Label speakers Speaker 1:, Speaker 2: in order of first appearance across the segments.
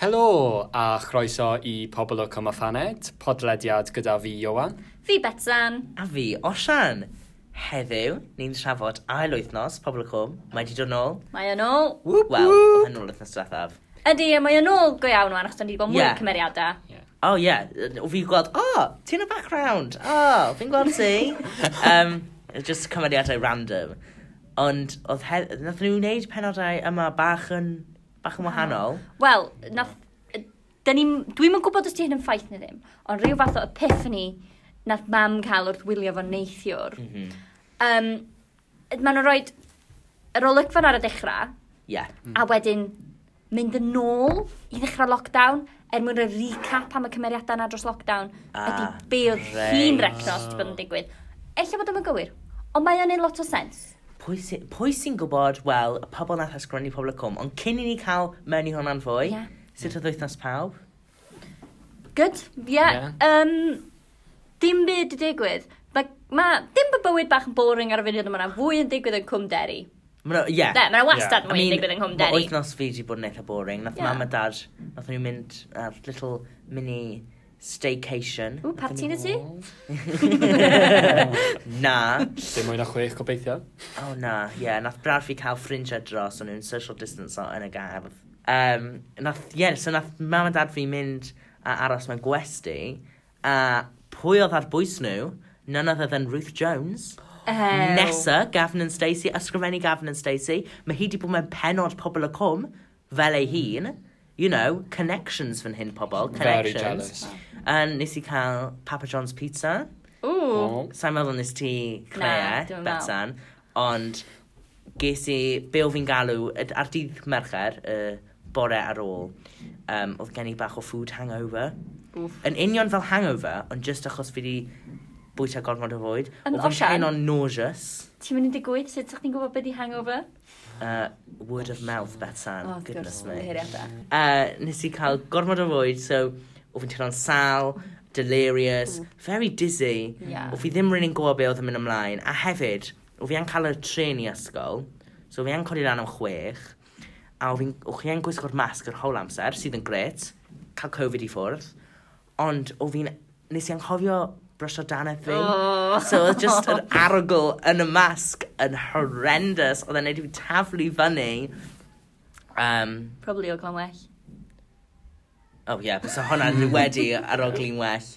Speaker 1: Helo a chroeso i Pobl o Cymaffanet, podlediad gyda fi Iwan.
Speaker 2: Fi Betsan.
Speaker 3: A fi, Osian. Heddiw, ni'n trafod ail wythnos, pobl y cwm, mae wedi dod nôl.
Speaker 2: Mae yn ôl.
Speaker 3: Wel, oedd e'n ôl wythnos diwethaf.
Speaker 2: Ydy, a mae yn ôl go iawn wan, achos ni wedi bod mwy
Speaker 3: Ie.
Speaker 2: yeah. cymeriadau.
Speaker 3: O oh, ie, yeah. fi'n gweld, o, oh, ti'n y background, o, oh, fi'n gweld ti. um, just cymeriadau random. Ond, oedd he- nath nhw wneud penodau yma bach yn, bach yn wahanol.
Speaker 2: Wel, nath... Dyn ni... Dwi'm yn gwybod os ti hyn yn ffaith neu ddim, ond rhyw fath o epiphany nath mam cael wrth wylio fo neithiwr.
Speaker 3: Ie. Mm
Speaker 2: Um, Maen nhw'n rhoi yr olygfan ar y dechrau,
Speaker 3: yeah.
Speaker 2: a wedyn mynd yn ôl i ddechrau lockdown er mwyn y recap am y cymeriadau na dros lockdown ydy
Speaker 3: Ah,
Speaker 2: be oedd
Speaker 3: reit.
Speaker 2: hi'n recnos wedi bod yn digwydd. Ella bod yma'n gywir, ond mae o'n ei lot o sens.
Speaker 3: Pwy sy- pwy sy'n gwybod, wel, y pobl nath ysgrifennu pobl y cwm, ond cyn i ni cael mewn i hwnna'n fwy,
Speaker 2: Ie.
Speaker 3: sut oedd wythnos pawb?
Speaker 2: Good, ie. Yeah. Um, dim byd i digwydd. Mae ma, dim bod bywyd bach yn boring ar y funud yma, na fwy yn digwydd yn Cwm Derry.
Speaker 3: Ma' nhw- Ie. Yeah.
Speaker 2: Ne, mae'n
Speaker 1: I
Speaker 2: wastad yeah. mwy yn digwydd yn Cwm Derry.
Speaker 3: wythnos fi wedi bod yn eitha boring. Nath
Speaker 2: Ie.
Speaker 3: yeah. mam a dad, nath nhw mynd ar little mini staycation.
Speaker 2: Ww, parti na ti?
Speaker 3: na.
Speaker 1: Dim mwy na chwech gobeithio.
Speaker 3: O oh, na, ie. Yeah. Nath brad fi cael ffrindiau dros, o'n nhw'n social distance o- yn y gardd. Um, nath, ie, yeah, so nath mam a dad fi mynd a aros mewn gwesti, a pwy oedd ar bwys nhw, none other than Ruth Jones.
Speaker 2: Ew.
Speaker 3: Nesa, Gavin and Stacey, ysgrifennu Gavin and Stacey. Mae hi di bod mewn penod pobl y cwm, fel ei hun. You know, connections fan hyn pobl,
Speaker 1: Very
Speaker 3: connections.
Speaker 1: jealous.
Speaker 3: And nes i cael Papa John's Pizza.
Speaker 2: Ww.
Speaker 1: O,
Speaker 3: Sa'n meddwl nes ti,
Speaker 2: Na,
Speaker 3: Claire,
Speaker 2: dwi'm yn meddwl.
Speaker 3: Betsan. Ond ges i, be o fi'n galw, y- ar dydd mercher, y bore ar ôl, um, oedd gen i bach o food hangover.
Speaker 2: Wff.
Speaker 3: Yn union fel hangover, ond just achos fi di bwyta gormod o fwyd.
Speaker 2: Yn
Speaker 3: Oedd yn
Speaker 2: osian?
Speaker 3: teimlo'n nauseous.
Speaker 2: Ti'n mynd i digwydd? Sut ydych chi'n gwybod beth i hangover? Oh,
Speaker 3: Uh, word of mouth, Betsan.
Speaker 2: O, wrth
Speaker 3: Oh, Goodness
Speaker 2: gwrs,
Speaker 3: me.
Speaker 2: heriadau.
Speaker 3: Uh, nes i cael gormod o fwyd, so o fi'n teimlo'n sal, delirious, very dizzy.
Speaker 2: Mm. Ie.
Speaker 3: O fi ddim rydyn yn gwybod be oedd yn mynd ymlaen. A hefyd, o fi yn cael y tren i ysgol, so o fi yn codi lan am chwech. A o fi'n- o chi yn gwisgo'r masg yr whole amser, sydd yn gret, cael Covid i ffwrdd. Ond o fi'n, nes i anghofio brysio danaeth fi.
Speaker 2: Oh.
Speaker 3: So oedd just yr arogl yn y masg yn horrendous. Oedd e'n neud i fi taflu fyny. Um,
Speaker 2: Probably o glan well.
Speaker 3: Oh ie, yeah, bys hwnna'n wedi ar ogli'n well.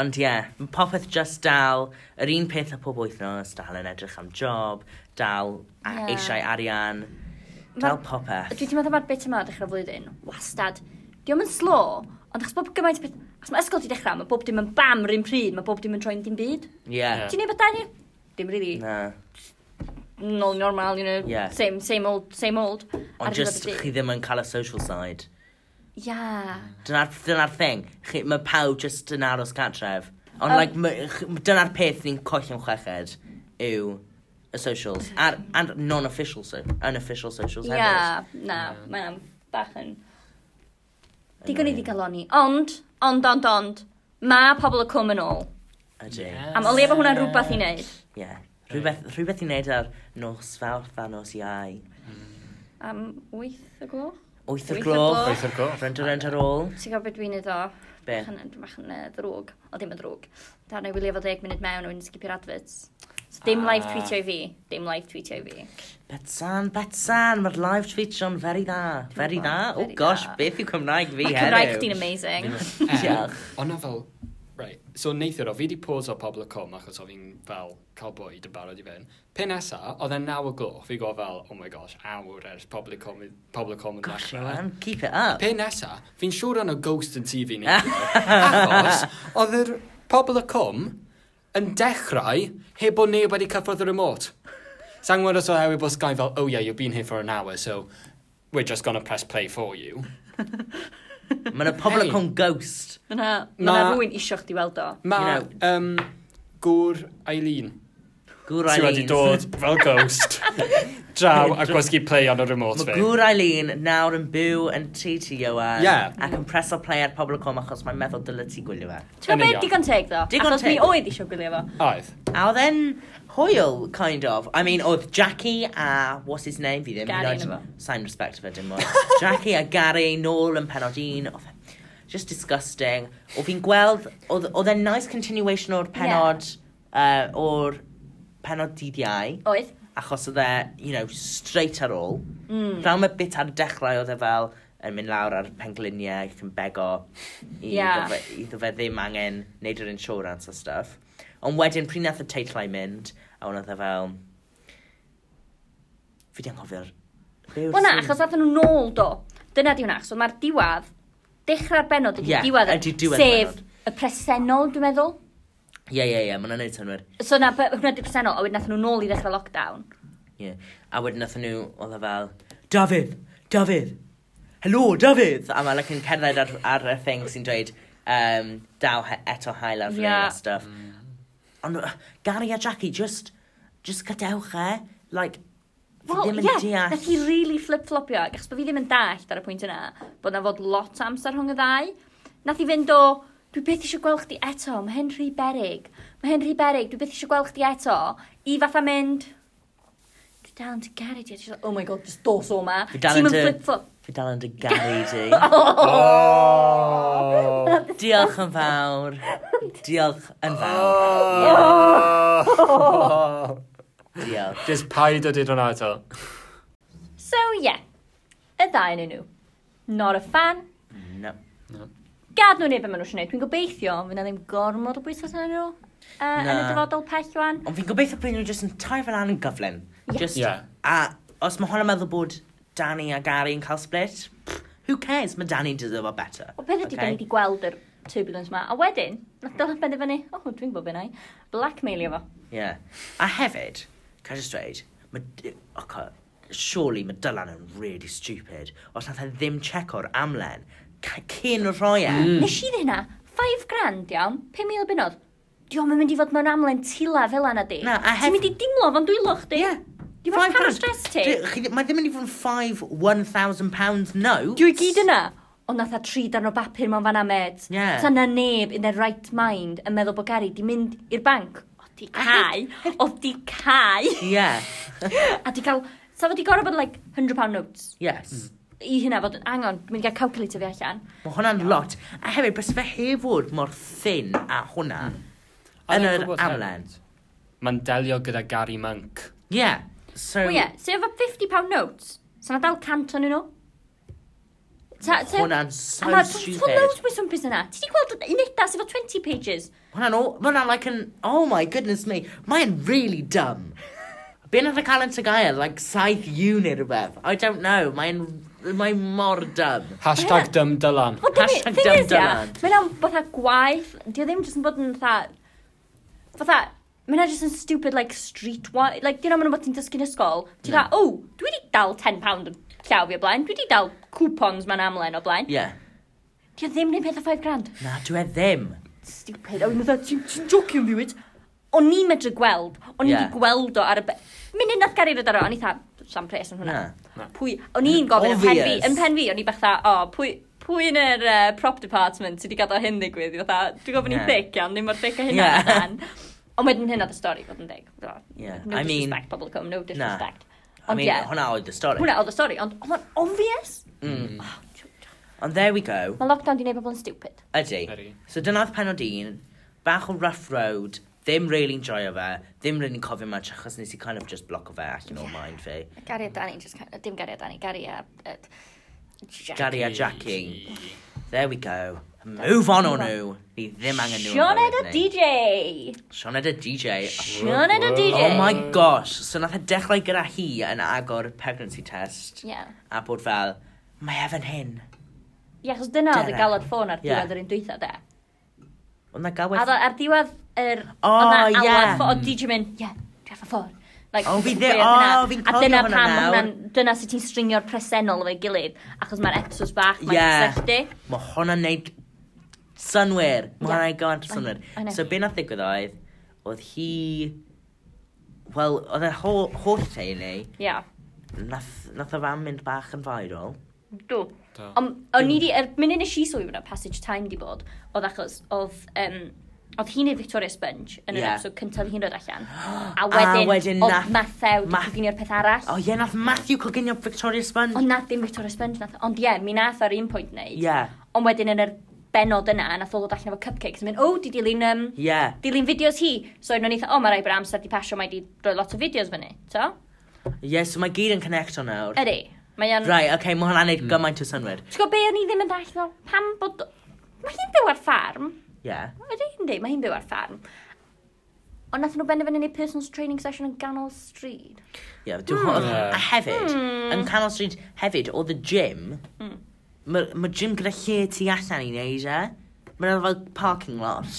Speaker 3: Ond ie, yeah, popeth just dal, yr un peth a pob wythnos, dal yn edrych am job, dal
Speaker 2: Ie.
Speaker 3: a yeah. eisiau arian,
Speaker 2: Ma-
Speaker 3: dal popeth.
Speaker 2: Dwi ti'n meddwl mae'r bit yma o dechrau flwyddyn, wastad. Di o'm yn slo, ond achos bob gymaint o beth... Achos mae ysgol di dechrau, mae bob dim yn bam rhywun pryd, mae bob dim yn troi'n dim byd.
Speaker 3: Ie. Yeah.
Speaker 2: Ti'n ei bod Dani? Dim rili.
Speaker 3: Na.
Speaker 2: Nôl i normal, you know,
Speaker 3: Yeah.
Speaker 2: same, same old, same old. Ar
Speaker 3: Ond just
Speaker 2: ddiwedd y
Speaker 3: chi
Speaker 2: dydd.
Speaker 3: ddim yn cael y social side.
Speaker 2: Ia.
Speaker 3: Dyna'r dyna thing. Chi, mae pawb just yn aros catref. Ond
Speaker 2: Um,
Speaker 3: um, like, ma- ch- dyna'r peth ni'n coll am chweched yw y socials. A'r a'r non-official, so, unofficial socials
Speaker 2: Ia,
Speaker 3: hefyd.
Speaker 2: na, mae am bach yn... Digon i ddigaloni. Ond, ond, ond, ond, mae pobl y cwm yn ôl.
Speaker 3: Ydy.
Speaker 2: Am o leaf hwnna'n rhywbeth i wneud.
Speaker 3: Ie. Yeah. Rhywbeth, rhywbeth i wneud ar nos fawrth a nos iau.
Speaker 2: Am 8 y gloch?
Speaker 3: Wyth
Speaker 2: Wyth
Speaker 3: o'r
Speaker 2: o'r
Speaker 3: gloch.
Speaker 2: gloch.
Speaker 1: Beth o'r gof?
Speaker 3: Rent o rent ar ôl.
Speaker 2: Ti'n gwybod beth dwi'n ei ddo?
Speaker 3: Be?
Speaker 2: Bach yn- Bach yn yy, ddrwg. O, dim yn ddrwg. Da i wylio fo 10 munud mewn a wedyn sgipio'r adverts. So, dim
Speaker 1: Ah.
Speaker 2: live tweetio i fi. Dim live tweetio i fi.
Speaker 3: Betsan, Betsan, mae'r live tweet o'n very dda. Very dda.
Speaker 2: Very
Speaker 3: Oh
Speaker 2: dda.
Speaker 3: gosh, beth yw Cymraeg fi
Speaker 2: Mae
Speaker 3: heddiw?
Speaker 2: Cymraeg chdi'n amazing.
Speaker 3: Diolch.
Speaker 1: Ond na fel, right, so neithiwr o, fi di pause o pobl y com achos o fi'n fel cael bwyd yn barod i fynd. Pe nesa, oedd e'n naw o gloch, fi go fel, oh my gosh, awr ers pobl y com pobl y com yn
Speaker 3: Gosh,
Speaker 1: dechrau.
Speaker 3: man, keep it up.
Speaker 1: Pe nesa, fi'n siŵr o'n o Ghost yn TV ni. achos, oedd yr pobl y cwm yn dechrau heb bod neb wedi cyffrodd y remote. Sa'n gwybod os oedd Ewi Bus Guy fel, oh yeah, you've been here for an hour, so we're just gonna press play for you.
Speaker 3: Mae'n y pobl
Speaker 1: Hey.
Speaker 3: yn cwm ghost.
Speaker 2: Mae'na
Speaker 1: Ma-
Speaker 2: ma rwy'n isio chdi weld o.
Speaker 1: Mae,
Speaker 3: You
Speaker 1: um, gŵr Eileen,
Speaker 3: Gŵr
Speaker 1: ti
Speaker 3: Eileen.
Speaker 1: wedi dod fel Ghost draw a
Speaker 3: Dr-
Speaker 1: gwasgu play on y remote
Speaker 3: Mae
Speaker 1: fe.
Speaker 3: gŵr Eileen nawr yn byw yn tŷ ti Iwan.
Speaker 1: Ie.
Speaker 3: Ac yn preso play ar pobl y cwm achos mae'n meddwl dylai ti gwylio fe.
Speaker 2: Ti'n
Speaker 1: Yn
Speaker 2: gwybod
Speaker 1: union.
Speaker 2: beth digon teg ddo?
Speaker 3: Digon
Speaker 2: Achos mi
Speaker 3: teg.
Speaker 2: oedd isio gwylio fo.
Speaker 1: Oedd.
Speaker 3: A oedd e'n Hwyl, kind of. I mean, oedd Jackie a... What's his name? Fi ddim.
Speaker 2: Gary
Speaker 3: hyd yn oed-
Speaker 2: neu fo.
Speaker 3: Sain respect fe dim mwy. Jackie a Gary nôl yn penod un. Oedd e just disgusting. O fi'n gweld... Oedd oedd e'n nice continuation o'r penod... Uh, o'r penod dydd iau.
Speaker 2: Oedd?
Speaker 3: Achos oedd e, you know, straight ar ôl.
Speaker 2: Mm.
Speaker 3: Rhawn mae bit ar y dechrau oedd e fel yn mynd lawr ar pengliniau ac yn bego i
Speaker 2: Yeah.
Speaker 3: iddo fe- iddo fe ddim angen neud yr insurance a stuff. Ond wedyn, pryd nath y teitlau mynd, a hwnna oedd e fel... Fi di anghofio'r...
Speaker 2: Wel na, achos athyn nhw nôl do. Dyna di hwnna, achos oedd mae'r diwad, dechrau'r benod ydi
Speaker 3: Ie,
Speaker 2: diwad,
Speaker 3: ydi diwedd y
Speaker 2: sef y presennol, dwi'n meddwl.
Speaker 3: Ie, ie, ie, mae'n neud synwyr.
Speaker 2: So na, pe- hwnna di presennol, a wedyn nathon nhw nôl i ddechrau lockdown.
Speaker 3: Ie. A wedyn nath nhw, oedd e fel... Dafydd! Dafydd! Helo, Dafydd! A mae'n like, yn cerdded ar, ar y thing sy'n dweud... Um, daw he, eto hael ar
Speaker 2: Ie.
Speaker 3: fyny yeah. a stuff. Ond uh, Gary a Jackie, just... Just gadewch e. Like... fi
Speaker 2: Wel,
Speaker 3: ddim yn
Speaker 2: ie,
Speaker 3: deall.
Speaker 2: nath i really flip-flopio, ac achos bod fi ddim yn dallt ar y pwynt yna, bod na fod lot o amser rhwng y ddau. Nath i fynd o, dwi beth eisiau gweld chdi eto, mae hyn rhy berig. Mae hyn rhy berig, dwi beth eisiau gweld chdi eto, i fatha mynd, dwi dal yn dy garid i, oh my god, just dos o ma.
Speaker 3: Dwi dal
Speaker 2: Ti'm
Speaker 3: yn dy-
Speaker 2: flip-flop.
Speaker 3: Fi dal yn dy Gary di.
Speaker 1: Oh!
Speaker 3: Diolch yn fawr. Diolch yn fawr.
Speaker 1: Oh!
Speaker 3: Diolch.
Speaker 1: Just paid o did hwnna eto.
Speaker 2: So, yeah, y ddau yn nhw. Not a fan,
Speaker 3: No.
Speaker 2: gad nhw'n neb yn maen nhw eisiau gwneud. Dwi'n gobeithio, fydd na ddim gormod o bwysau tan nhw uh, yn y
Speaker 3: Na.
Speaker 2: dyfodol pell rwan.
Speaker 3: Ond fi'n gobeithio bryd nhw jyst yn tai fel an yn gyflym.
Speaker 2: Ie.
Speaker 3: Just,
Speaker 1: Ie.
Speaker 3: A os mae hwn yn meddwl bod Danny a Gary yn cael split, pff, who cares? Mae Danny deserve it better.
Speaker 2: O beth ydy okay. ni wedi gweld yr turbulence ma. A wedyn, nath dylan benderfynu, o, oh, dwi'n gwybod bennau, blackmailio fo.
Speaker 3: Yeah. A hefyd, can I just dweud, mae... d- oce, Surely mae Dylan yn really stupid. Os nath e ddim checo'r amlen, c- cyn rhoi e.
Speaker 2: Mm. Nes i hynna, 5 grand iawn, 5,000 bunod. Di o'n mynd i fod mewn amlen tila fel yna di.
Speaker 3: Na, a hef-
Speaker 2: Ti'n mynd i dimlo fo'n dwylo chdi.
Speaker 3: Ie.
Speaker 2: Di
Speaker 3: Five
Speaker 2: mae'n cael
Speaker 3: grand.
Speaker 2: stress ti.
Speaker 3: Dwi- chi- Mae ddim yn i fod yn 5 1,000 pounds notes.
Speaker 2: Dwi i gyd yna. Ond nath a tri darn o bapur mewn fan amed.
Speaker 3: Ie.
Speaker 2: Sa na neb in their right mind yn meddwl bod Gary di mynd i'r banc. O, di cau. O, di cau.
Speaker 3: Yeah.
Speaker 2: a di cael... Sa fo di gorau bod like £100 notes.
Speaker 3: Yes.
Speaker 2: i hynna fod yn angon, dwi'n mynd i gael calculator fi allan.
Speaker 3: Mae hwnna'n lot. A hefyd, bys fe heb fod mor thin a hwnna.
Speaker 2: Hmm.
Speaker 1: A
Speaker 3: Yn
Speaker 1: dwi'n
Speaker 3: yr
Speaker 1: gwybod
Speaker 3: amlen.
Speaker 1: hefyd, Mae'n delio gyda Gary Monk.
Speaker 3: Ie. Yeah. So,
Speaker 2: Wel ie, so efo £50 notes, so na dal cant o'n nhw. Ta- ta-
Speaker 3: hwnna'n so
Speaker 2: A ma-
Speaker 3: stupid.
Speaker 2: Ti'n loads bwys o'n bus yna. Ti di gweld uneda sydd efo 20 pages?
Speaker 3: Hwnna'n o... Hwnna'n like an... Oh my goodness me. Mae'n really dumb. Be nath y cael yn Tagaia? Like, saith you neu rhywbeth. I don't know. Mae'n... Mae'n mor dumb.
Speaker 1: Hashtag
Speaker 2: Ie.
Speaker 1: dym Dylan.
Speaker 2: Wel, dim-
Speaker 3: Hashtag
Speaker 2: thing
Speaker 3: dumb
Speaker 2: is, ie,
Speaker 3: Dylan.
Speaker 2: Mae hwnna'n fatha gwaith, di o ddim jyst yn bod yn fatha... Fatha, mae hwnna jyst yn stupid, like, street one. Like, di o ddim yn bod ti'n dysgu'n ysgol. Ti'n dda, o, dwi di dal £10 yn llaw fi o blaen. Dwi di dal coupons ma'n amlen o blaen.
Speaker 3: Ie. Yeah.
Speaker 2: Di o ddim yn peth o 5 grand.
Speaker 3: Na, dwi e ddim.
Speaker 2: stupid. A fi'n meddwl, "Ti- ti'n jocio fi wyt? O'n i'n medru gweld, o'n i
Speaker 3: Ie.
Speaker 2: wedi gweld o ar y... Be... Munud nath gari rydar o, o'n i tha, sam pres yn hwnna.
Speaker 3: Na.
Speaker 2: Pwy, o'n i'n gofyn yn pen fi,
Speaker 3: Obvious.
Speaker 2: yn pen fi, o'n i bach tha, o, pwy, pwy yn yr uh, prop department sydd wedi gadael hyn ddigwydd? I Fatha, dwi'n gofyn
Speaker 3: Ie.
Speaker 2: i'n thic iawn, ddim o'r thic o hynna
Speaker 3: Ie.
Speaker 2: yeah. dan. Ond wedyn hynna dy stori, fod yn dig.
Speaker 3: Ie,
Speaker 2: No
Speaker 3: I mean-
Speaker 2: disrespect, pobl cwm, no disrespect.
Speaker 3: I
Speaker 2: Ond
Speaker 3: mean,
Speaker 2: ie,
Speaker 3: hwnna oedd y stori.
Speaker 2: hwnna oedd y stori, ond oedd o'n obvious.
Speaker 3: Mm.
Speaker 2: Oh, tiw, tiw.
Speaker 3: Ond there we go.
Speaker 2: Mae lockdown di neud pobl yn stupid.
Speaker 3: Ydy.
Speaker 1: Ydy.
Speaker 3: So dyna oedd penod un, bach o rough road, ddim really enjoyo fe, ddim really cofio much achos nes i kind of just block o fe allan o mind fi.
Speaker 2: Gary a Danny, just kind of, dim Gary a Danny, Gary a... Uh, Jack.
Speaker 3: Gary a Jackie. There we go. Move on o nhw. Ni ddim angen nhw. yn
Speaker 2: Sean
Speaker 3: bywyd
Speaker 2: Ed a
Speaker 3: ni.
Speaker 2: DJ.
Speaker 3: Sean Ed a DJ.
Speaker 2: Sean Ed a
Speaker 1: Whoa.
Speaker 2: DJ.
Speaker 3: Oh my gosh. So nath e dechrau gyda hi yn agor pregnancy test.
Speaker 2: Yeah.
Speaker 3: A bod fel, mae efen hyn.
Speaker 2: Ie, achos dyna oedd y
Speaker 3: Dyna.
Speaker 2: galad ffôn ar
Speaker 3: Ie.
Speaker 2: diwedd yr un dwytha, de.
Speaker 3: Ond na
Speaker 2: A
Speaker 3: gaweth...
Speaker 2: ddo- ar diwedd yr...
Speaker 3: O,
Speaker 2: oedd 'na
Speaker 3: ie.
Speaker 2: alad ffôn, oedd DJ mynd, ie, dwi efo ffôn. Like,
Speaker 3: O, fi
Speaker 2: beth
Speaker 3: ddi-
Speaker 2: oedd
Speaker 3: o,
Speaker 2: hynna?
Speaker 3: fi'n
Speaker 2: A
Speaker 3: cofio
Speaker 2: dyna
Speaker 3: hwnna
Speaker 2: pam,
Speaker 3: nawr.
Speaker 2: hwnna'n- dyna sy'n ti'n stringio'r presennol efo'i gilydd, achos mae'r exos bach,
Speaker 3: Ie.
Speaker 2: mae'n sechdi.
Speaker 3: Mae hwnna'n neud synwyr. Mae
Speaker 2: Ie.
Speaker 3: hwnna'n neud gawant
Speaker 2: I-
Speaker 3: synwyr.
Speaker 2: I know.
Speaker 3: So be nath ddigwydd oedd, oedd hi... Wel, oedd e ho- holl teulu,
Speaker 2: Ie.
Speaker 3: nath, nath o fan mynd bach yn viral.
Speaker 2: Do.
Speaker 1: Do.
Speaker 2: Ond o'n i di, er munud nes i sylwi bod yna passage time di bod, oedd achos, oedd um, Oedd hi'n ei Victoria Sponge yn yr
Speaker 3: Ie.
Speaker 2: yeah. episode cyntaf hi'n dod allan. A
Speaker 3: A
Speaker 2: wedyn,
Speaker 3: wedyn nath-
Speaker 2: oedd Mathew
Speaker 3: Math-
Speaker 2: wedi cynio'r peth arall.
Speaker 3: O ie, nath Matthew coginio Victoria Sponge.
Speaker 2: Ond na dim Victoria Sponge nath. Ond ie, mi nath ar un pwynt wneud.
Speaker 3: Ie,
Speaker 2: Ond wedyn yn yr benod yna, nath o ddod allan efo cupcakes. Yn mynd, o, di dilyn, um,
Speaker 3: ie.
Speaker 2: dilyn fideos hi. So oedden nhw'n eitha, o, mae rai bod amser di pasio, mae di droi lot o fideos fyny. To?
Speaker 3: Ie, so mae gyd yn connecto nawr.
Speaker 2: Ydy. Mae o'n...
Speaker 3: Rai, oce, okay, mae hwnna'n neud gymaint o synwyr.
Speaker 2: Ti'n gwybod be o'n i ddim yn dall ddo? Pam bod... Mae hi'n byw ar ffarm.
Speaker 3: Ie.
Speaker 2: Ydy hi'n di, mae hi'n byw ar ffarm. Ond nath nhw benderfynu ni personal training session yn ganol stryd.
Speaker 3: Ie, dwi'n hwn.
Speaker 1: Ie.
Speaker 3: A hefyd,
Speaker 2: Hmm.
Speaker 3: yn Canol Street hefyd, oedd y gym, mae gym gyda lle ti allan i neud e. Mae'n fel parking lot.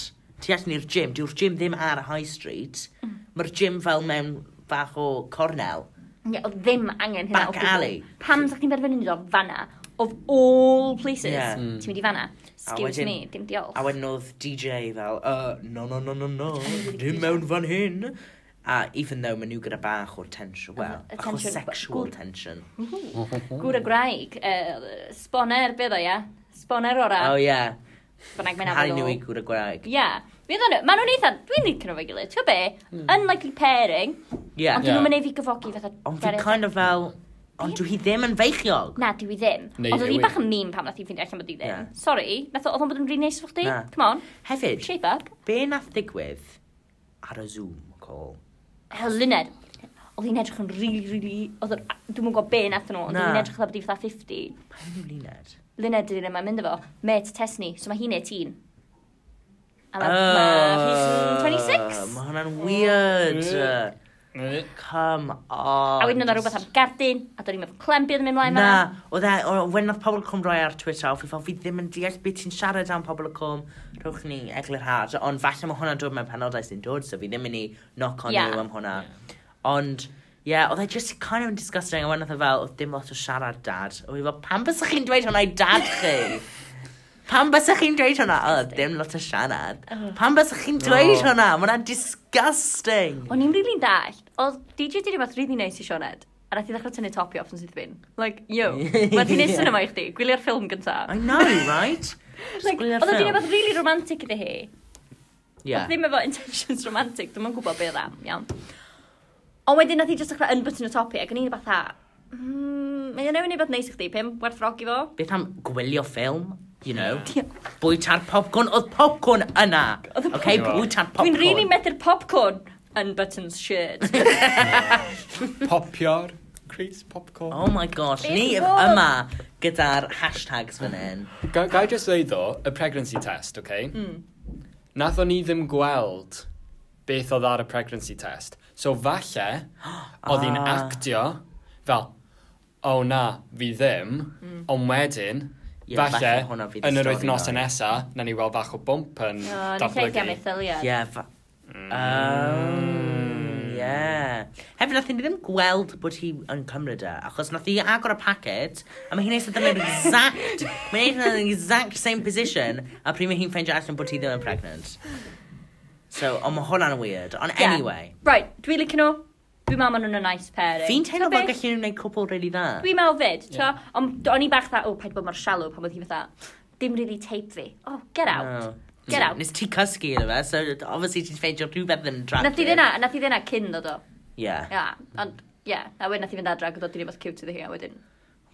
Speaker 3: Ti allan i'r gym. Dyw'r gym ddim ar y High Street.
Speaker 2: Hmm.
Speaker 3: Mae'r gym fel mewn bach o cornel.
Speaker 2: Ie, oedd ddim angen hynna
Speaker 3: Back
Speaker 2: o gwbl.
Speaker 3: alley.
Speaker 2: Pam sa'ch chi'n benderfynu ni dod fanna? Of all places,
Speaker 3: Ie.
Speaker 2: yeah. ti'n mynd i fanna? Excuse
Speaker 3: wedyn-
Speaker 2: me, dim diolch.
Speaker 3: A wedyn oedd DJ fel, uh, no, no, no, no, no, dim mewn fan hyn. A even though maen nhw gyda bach o tension, well,
Speaker 2: Y
Speaker 3: bach o
Speaker 2: tension,
Speaker 3: sexual
Speaker 2: gwr-
Speaker 3: tension.
Speaker 2: Gwr y graig, uh, sboner bydd o, ia? Sboner ora.
Speaker 3: Oh, yeah.
Speaker 2: Bynnag mae'n
Speaker 3: Hali
Speaker 2: afel
Speaker 3: nhw
Speaker 2: o.
Speaker 3: i gwrdd y gwraeg.
Speaker 2: Ie. Bydd o'n... Maen nhw'n eitha... Dwi'n ni'n cynnwyr gilydd, ti'n gwbo be?
Speaker 3: Hmm.
Speaker 2: Unlikely pairing. Ond
Speaker 3: Yeah.
Speaker 1: Ie.
Speaker 2: dyn nhw'n mynd ei fi gyfogi fatha...
Speaker 3: Ond fi
Speaker 2: beryg.
Speaker 3: kind of fel, ond dwi hi ddim yn feichiog.
Speaker 2: Na, dwi ddim.
Speaker 1: Neu
Speaker 2: Ond oedd hi
Speaker 1: newydd.
Speaker 2: bach yn mîm pam nath i ffeindio allan bod i ddim.
Speaker 3: Na.
Speaker 2: Sorry, nath o- oedd o'n bod yn rili neis efo chdi.
Speaker 3: Na.
Speaker 2: Come on,
Speaker 3: Hefyd,
Speaker 2: shape up.
Speaker 3: be nath digwydd ar y Zoom call?
Speaker 2: Hel Luned. Oedd hi'n edrych yn rili, rili... Oedd o'n... Dwi'n mwyn gwybod be nath nhw, ond
Speaker 3: Na.
Speaker 2: oedd hi'n edrych yn bod i fatha 50.
Speaker 3: Pa'n nhw'n luned?
Speaker 2: Luned ydy'n yma'n mynd efo. Met Tesni, so mae hi'n 18. A ma-
Speaker 3: Oh,
Speaker 2: ma' hi'n 26.
Speaker 3: Mae hwnna'n weird. Come on.
Speaker 2: A wedyn oedd o'n rhywbeth am gardyn, a do'n i'n meddwl clem bydd yn mynd mlaen
Speaker 3: Na,
Speaker 2: fan'na.
Speaker 3: oedd e, o- when nath pobl cwm roi ar Twitter, fi fel fi ddim yn deall beth ti'n siarad am pobl y cwm, rhowch ni eglurhad, ond falle mae hwnna'n dod mewn penodau sy'n dod, so fi ddim yn ei knock on
Speaker 2: Ie.
Speaker 3: yeah. am hwnna. Ond, ie, yeah, oedd e just kind of yn disgusting, a wedyn oedd e fel, oedd dim lot o siarad dad. Oedd e fel, pam bys chi'n dweud hwnna i dad chi? Pam bys chi'n dweud hwnna? O, dim lot o siarad.
Speaker 2: Uh-huh.
Speaker 3: Pam bys chi'n dweud
Speaker 1: O.
Speaker 3: hwnna? Mae hwnna'n disgusting.
Speaker 2: O'n i'n rili'n dall, oedd DJ di rhywbeth rili neis i Sioned, a nath i ddechrau tynnu topi off yn syth bin. Like, yo, mae ti'n neud
Speaker 3: Ie.
Speaker 2: cinema i chdi, gwylio'r ffilm gynta.
Speaker 3: I know, right?
Speaker 2: Like,
Speaker 3: gwylio'r
Speaker 2: oedd o'n
Speaker 3: ffilm.
Speaker 2: rhywbeth rili romantic iddi hi.
Speaker 3: Yeah.
Speaker 2: Ddim efo intentions romantic, dwi'n yn gwybod beth am, iawn. Ond wedyn nath i just ddechrau unbutton y topi, ac o'n i'n fatha, "Mm, mae yna wneud beth neis i chdi, pim, werthrogi fo.
Speaker 3: Beth am gwylio ffilm, you know?
Speaker 2: Diolch.
Speaker 3: Bwyta'r popcorn, oedd popcorn yna.
Speaker 2: Oedd y
Speaker 3: OK,
Speaker 1: popcorn-
Speaker 3: bwyta'r popcorn.
Speaker 2: Dwi'n rili medru'r popcorn unbuttons shirt.
Speaker 1: Popio'r Chris Popcorn.
Speaker 3: Oh my gosh,
Speaker 2: Beth
Speaker 3: ni
Speaker 2: oedd?
Speaker 3: yma gyda'r hashtags fan hyn.
Speaker 1: Ga, ga i just dweud ddo, y pregnancy test, okay? Mm.
Speaker 3: Hmm.
Speaker 1: Nath o'n i ddim gweld beth oedd ar y pregnancy test. So falle, oedd hi'n
Speaker 3: Ah.
Speaker 1: actio fel, o oh, na, fi ddim, ond wedyn,
Speaker 3: Hmm. Ie,
Speaker 1: falle,
Speaker 3: falle hwnna fydd y
Speaker 1: yn yr
Speaker 3: stori
Speaker 1: wythnos
Speaker 3: nawr.
Speaker 1: nesa, na ni weld bach o bump yn
Speaker 2: O, ni'n lleith am
Speaker 1: datblygu.
Speaker 2: eithiliad.
Speaker 3: Ie, fa... Um, yeah. Hefyd, nath ni ddim gweld bod hi yn cymryd e, achos nath hi agor y packet, a mae hi'n eistedd yn yr exact, mae'n eistedd yn yr exact same position, a pryd mae hi'n ffeindio allan bod hi ddim yn pregnant. So, ond mae hwnna'n weird. Ond
Speaker 2: Ie.
Speaker 3: anyway,
Speaker 2: Right, dwi'n licio nhw. Dwi'n meddwl maen nhw'n a nice pairing.
Speaker 3: fi'n teimlo
Speaker 2: T'bo'
Speaker 3: fel
Speaker 2: be?
Speaker 3: gallu nhw'n gwneud cwpl really dda.
Speaker 2: Dwi'n meddwl fyd, t'o? Ond o'n i bach dda, o, paid bod mor shallow pan oedd hi fatha, dim really tape fi. Oh, get out.
Speaker 3: No.
Speaker 2: Get out.
Speaker 3: Nes ti cysgu iddo fe, so obviously ti'n ffeindio rhywbeth yn attractive.
Speaker 2: Nath i ddena, nath i ddena cyn ddod o.
Speaker 3: Yeah.
Speaker 2: Ia, ond, ie. A wedyn nath i fynd adra, gyda ti'n rhywbeth cute iddi hi, a wedyn.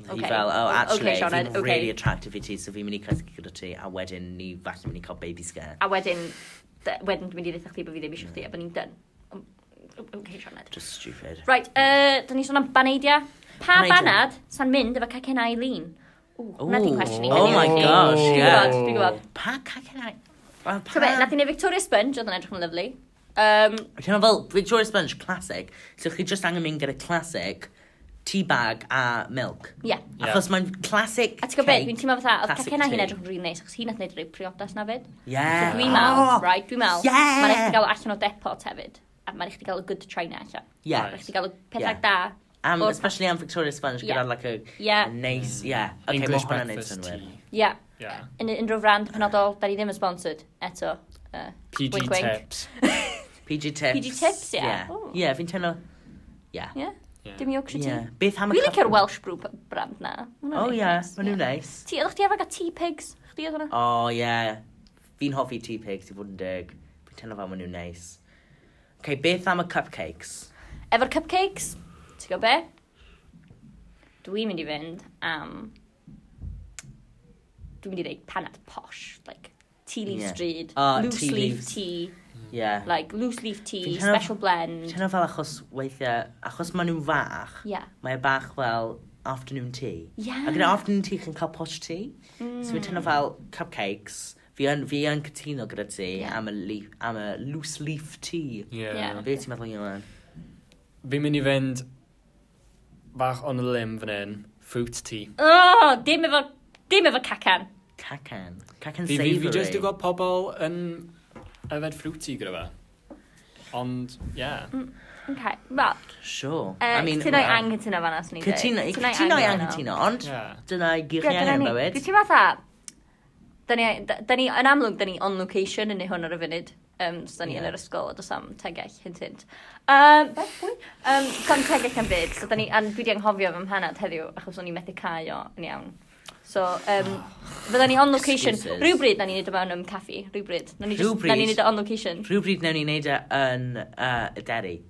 Speaker 3: Hi
Speaker 2: Okay.
Speaker 3: fel, oh,
Speaker 2: O-
Speaker 3: actually,
Speaker 2: okay, Sian,
Speaker 3: fi'n
Speaker 2: I'd- okay.
Speaker 3: really attractive i ti, so fi'n mynd i cysgu gyda ti, a wedyn ni falle mynd i cael baby scare.
Speaker 2: A wedyn, dy- wedyn dwi'n mynd i ddeitha chdi bod fi ddim eisiau chdi, a bod ni'n done. Um, Okay, Sioned.
Speaker 3: Just stupid.
Speaker 2: Right, uh, da ni sôn am baneidia. Pa
Speaker 3: Baneidia.
Speaker 2: banad sa'n mynd efo cacen Eileen? Ww, hwnna di
Speaker 3: Ooh.
Speaker 2: cwestiwn i.
Speaker 3: Oh
Speaker 2: heddiw.
Speaker 3: my gosh,
Speaker 2: Dwi'n
Speaker 3: yeah.
Speaker 2: gwybod, Dwi'n gwybod.
Speaker 3: Pa cacen I... Wel,
Speaker 2: Ti'n gwybod,
Speaker 3: pa...
Speaker 2: nath i neu Victoria Sponge, oedd yn edrych yn lyflu. Um,
Speaker 3: Ti'n fel, Victoria Sponge, classic. So chi just angen mynd gyda classic, tea bag a milk.
Speaker 2: yeah.
Speaker 1: Ie.
Speaker 3: Achos mae'n classic
Speaker 2: A ti'n gwybod beth, dwi'n teimlo fatha, oedd
Speaker 3: Classic
Speaker 2: cacena hi'n
Speaker 3: tea.
Speaker 2: edrych yn rili neis, achos hi'n edrych rei priodas na fyd. So
Speaker 3: Yeah.
Speaker 2: dwi'n meddwl, right, dwi'n meddwl,
Speaker 3: Oh, yeah.
Speaker 2: mae'n eich gael allan o depot hefyd, a mae'n eich gael y good china allan.
Speaker 3: Yeah.
Speaker 2: Mae'n eich gael y pethau
Speaker 3: Yeah.
Speaker 2: da.
Speaker 3: Um,
Speaker 2: O'r-
Speaker 3: especially am Victoria Sponge gyda
Speaker 2: Yeah.
Speaker 3: like a
Speaker 2: Yeah.
Speaker 3: a nice, yeah. Okay,
Speaker 1: English
Speaker 3: ma' hwnna'n neud
Speaker 1: breakfast
Speaker 3: synwyr.
Speaker 1: tea.
Speaker 2: Ie.
Speaker 1: Yeah.
Speaker 2: Yn unrhyw rand penodol, da ni ddim yn sponsored, eto. Yy,
Speaker 1: PG
Speaker 2: wink, wink.
Speaker 1: tips.
Speaker 3: PG tips.
Speaker 2: PG tips, ie.
Speaker 3: Yeah,
Speaker 2: Ooh.
Speaker 3: yeah fi'n teimlo... Yeah.
Speaker 2: Ie?
Speaker 1: Ie.
Speaker 2: Dim Yorkshire
Speaker 3: yeah.
Speaker 2: tea.
Speaker 3: Beth am y...
Speaker 2: Dwi'n
Speaker 3: cup-
Speaker 2: licio'r Welsh brew p- brand na. Ma'
Speaker 3: Oh,
Speaker 2: nhw'n neis.
Speaker 3: yeah. Ma'n nhw'n
Speaker 2: Ie.
Speaker 3: neis.
Speaker 2: Ti, oeddech chi efo gael tea pigs? Chdi oedd hwnna?
Speaker 3: Oh, yeah. Fi'n hoffi tea pigs i fod yn dig. Teimlo fel maen nhw'n neis. Okay, beth am y cupcakes?
Speaker 2: Efo'r cupcakes, ti'n gwybod be? Dwi'n mynd i fynd am... Dwi'n mynd i ddeud panad posh, like tea leaf
Speaker 3: Ie.
Speaker 2: street,
Speaker 3: Ah,
Speaker 2: loose
Speaker 3: tea
Speaker 2: leaf
Speaker 3: leaves.
Speaker 2: tea,
Speaker 3: Yeah.
Speaker 2: like loose leaf tea,
Speaker 3: Fi'n teimlo-
Speaker 2: special blend.
Speaker 3: Teimlo fel achos weithiau, achos maen nhw'n fach,
Speaker 2: Yeah.
Speaker 3: mae bach fel afternoon tea.
Speaker 2: Yeah.
Speaker 3: A gyda afternoon tea chi'n cael posh tea. Mm. So fi'n teimlo fel cupcakes. Fi yn, fi yn cytuno gyda ti
Speaker 2: Yeah.
Speaker 3: yeah. am, y leaf, am y loose leaf tea.
Speaker 2: Yeah.
Speaker 3: Be ti'n meddwl e? Iwan?
Speaker 1: Fi'n mynd i fynd bach on y limb fan hyn, fruit tea.
Speaker 2: Oh, dim efo, dim efo cacan.
Speaker 3: Cacan. Cacan
Speaker 1: Fi, fi,
Speaker 3: savoury.
Speaker 1: fi jyst i gweld pobl yn yfed fruity gyda fe. Ond, ie. Yeah.
Speaker 2: Okay, well,
Speaker 3: Sure.
Speaker 2: uh,
Speaker 3: I mean,
Speaker 2: ti'n ei anghytuno fan aswn i
Speaker 3: Cytuno,
Speaker 2: dweud.
Speaker 3: cytuno i anghytuno, ond
Speaker 1: Yeah.
Speaker 3: dyna i gyd
Speaker 2: Ie,
Speaker 3: chi
Speaker 2: dyna
Speaker 3: angen
Speaker 2: ni.
Speaker 3: bywyd.
Speaker 2: Dwi'n teimlo fatha, da ni, da, da ni, yn amlwg, da ni on location yn ei hwn ar y funud. Um, so da ni yn
Speaker 3: Ie.
Speaker 2: yr ysgol, a does am tegell, hint hint. Um, beth pwy? Um, gan tegell am byd, so da ni, a dwi di anghofio fy mhanad heddiw, achos o'n i methu cau o yn iawn. So, um, fydda ni on location.
Speaker 3: Excuses.
Speaker 2: Rhywbryd na ni'n neud o mewn um, caffi, rhywbryd. Na ni'n
Speaker 3: Rhywbryd?
Speaker 2: neud o on location.
Speaker 3: Rhywbryd newn ni wneud e yn uh, y deri.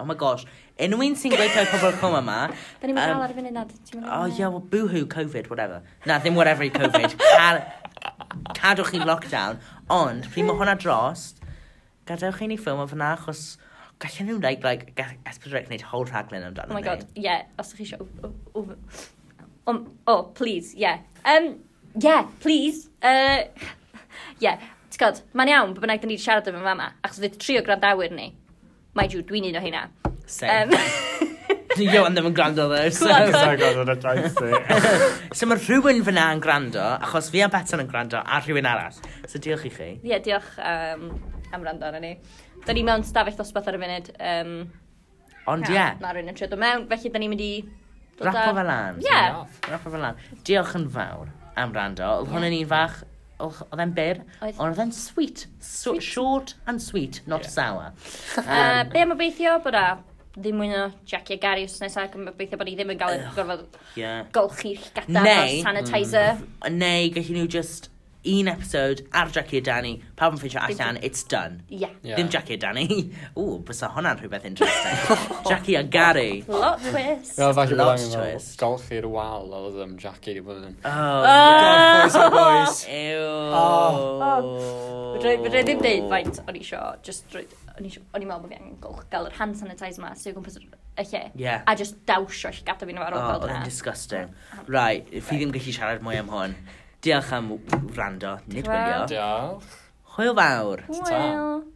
Speaker 3: Oh my gosh. Unrhyw un sy'n gweithio i pobl cwm yma...
Speaker 2: Da ni'n mynd
Speaker 3: yym,
Speaker 2: gael ar y funud nad. ti'n mynd
Speaker 3: Oh
Speaker 2: gael?
Speaker 3: yeah, well, boo-hoo, Covid, whatever. Na, ddim whatever i Covid. Car- Cadwch chi'n lockdown. Ond, pryd mae hwnna drost, gadewch chi'n ei ffilm o fyna, achos gallen nhw wneud, like, gall- S4C wneud whole rhaglen amdano
Speaker 2: Oh my
Speaker 3: ni.
Speaker 2: god, ie, yeah, os ydych chi eisiau... O, o, o, o, um, o, please, ie. Yeah. Um, yeah, please. Uh, yeah, ti'n god, mae'n iawn bod bynnag da ni wedi siarad efo'n fama, achos fydd tri o grandawyr ni. Mae Jude, dwi'n un o hynna.
Speaker 3: Same.
Speaker 2: Um,
Speaker 3: Yo, ond ddim yn gwrando, though. So,
Speaker 2: Come on, come on.
Speaker 4: god, yn y daith
Speaker 3: so mae rhywun fyna yn gwrando, achos fi a Beton yn gwrando, a rhywun arall. So, diolch i chi.
Speaker 2: Ie, diolch um, am rando arno ni. Da ni mewn stafell dosbarth ar y funud. Um,
Speaker 3: Ond, ie,
Speaker 2: Mae rhywun yn trio dod mewn, felly da ni'n mynd i... dod
Speaker 3: Rapo
Speaker 2: â-
Speaker 3: fe lan.
Speaker 2: Ie.
Speaker 3: Rafa fel lan. Diolch yn fawr am rando. Oedd hwn yn un fach, oedd oedd e'n byr,
Speaker 2: Oedd.
Speaker 3: ond oedd e'n sweet. So, short and sweet, not
Speaker 1: Ie.
Speaker 3: sour.
Speaker 2: Uh, be am obeithio bod a ddim mwy o Jackie a Gary os nesaf, ac am obeithio bod ni ddim yn gael gorfod
Speaker 3: Yeah.
Speaker 2: golchi'r gada
Speaker 3: Neu-
Speaker 2: fel sanitizer.
Speaker 3: Neu, gallu nhw just un episod ar Jackie a Danny, pawb yn ffeisio allan, it's done.
Speaker 2: Yeah.
Speaker 1: Ie.
Speaker 3: Ddim Jackie a Danny. Ww, bysa hwnna'n rhywbeth interesting. Jackie a Gary.
Speaker 2: Plot twist.
Speaker 1: Fel falle bod
Speaker 3: Lot
Speaker 1: angen fel
Speaker 3: twist.
Speaker 1: golchi'r wal oedd ddim Jackie wedi bod yn.
Speaker 3: Oh,
Speaker 1: Boys, oh boys.
Speaker 3: Ew.
Speaker 2: Oh. Fydra i fedra i ddim deud faint o'n i isio, just roed, o'n i isio- o'n i'n meddwl bod fi angen golch gael yr hand sanitizer ma, sy'n gwmpas y lle.
Speaker 3: Ie.
Speaker 2: A just dawsio eich gada fi nhw ar ôl
Speaker 3: Oh,
Speaker 2: gweld
Speaker 3: oedd e'n
Speaker 2: hwnna.
Speaker 3: disgusting. Rai, fi ddim gallu siarad mwy am hwn. Diolch am w- wrando, nid
Speaker 2: Wel.
Speaker 3: wylio.
Speaker 1: Diolch.
Speaker 3: Hwyl fawr.
Speaker 1: Ta.
Speaker 2: Wel.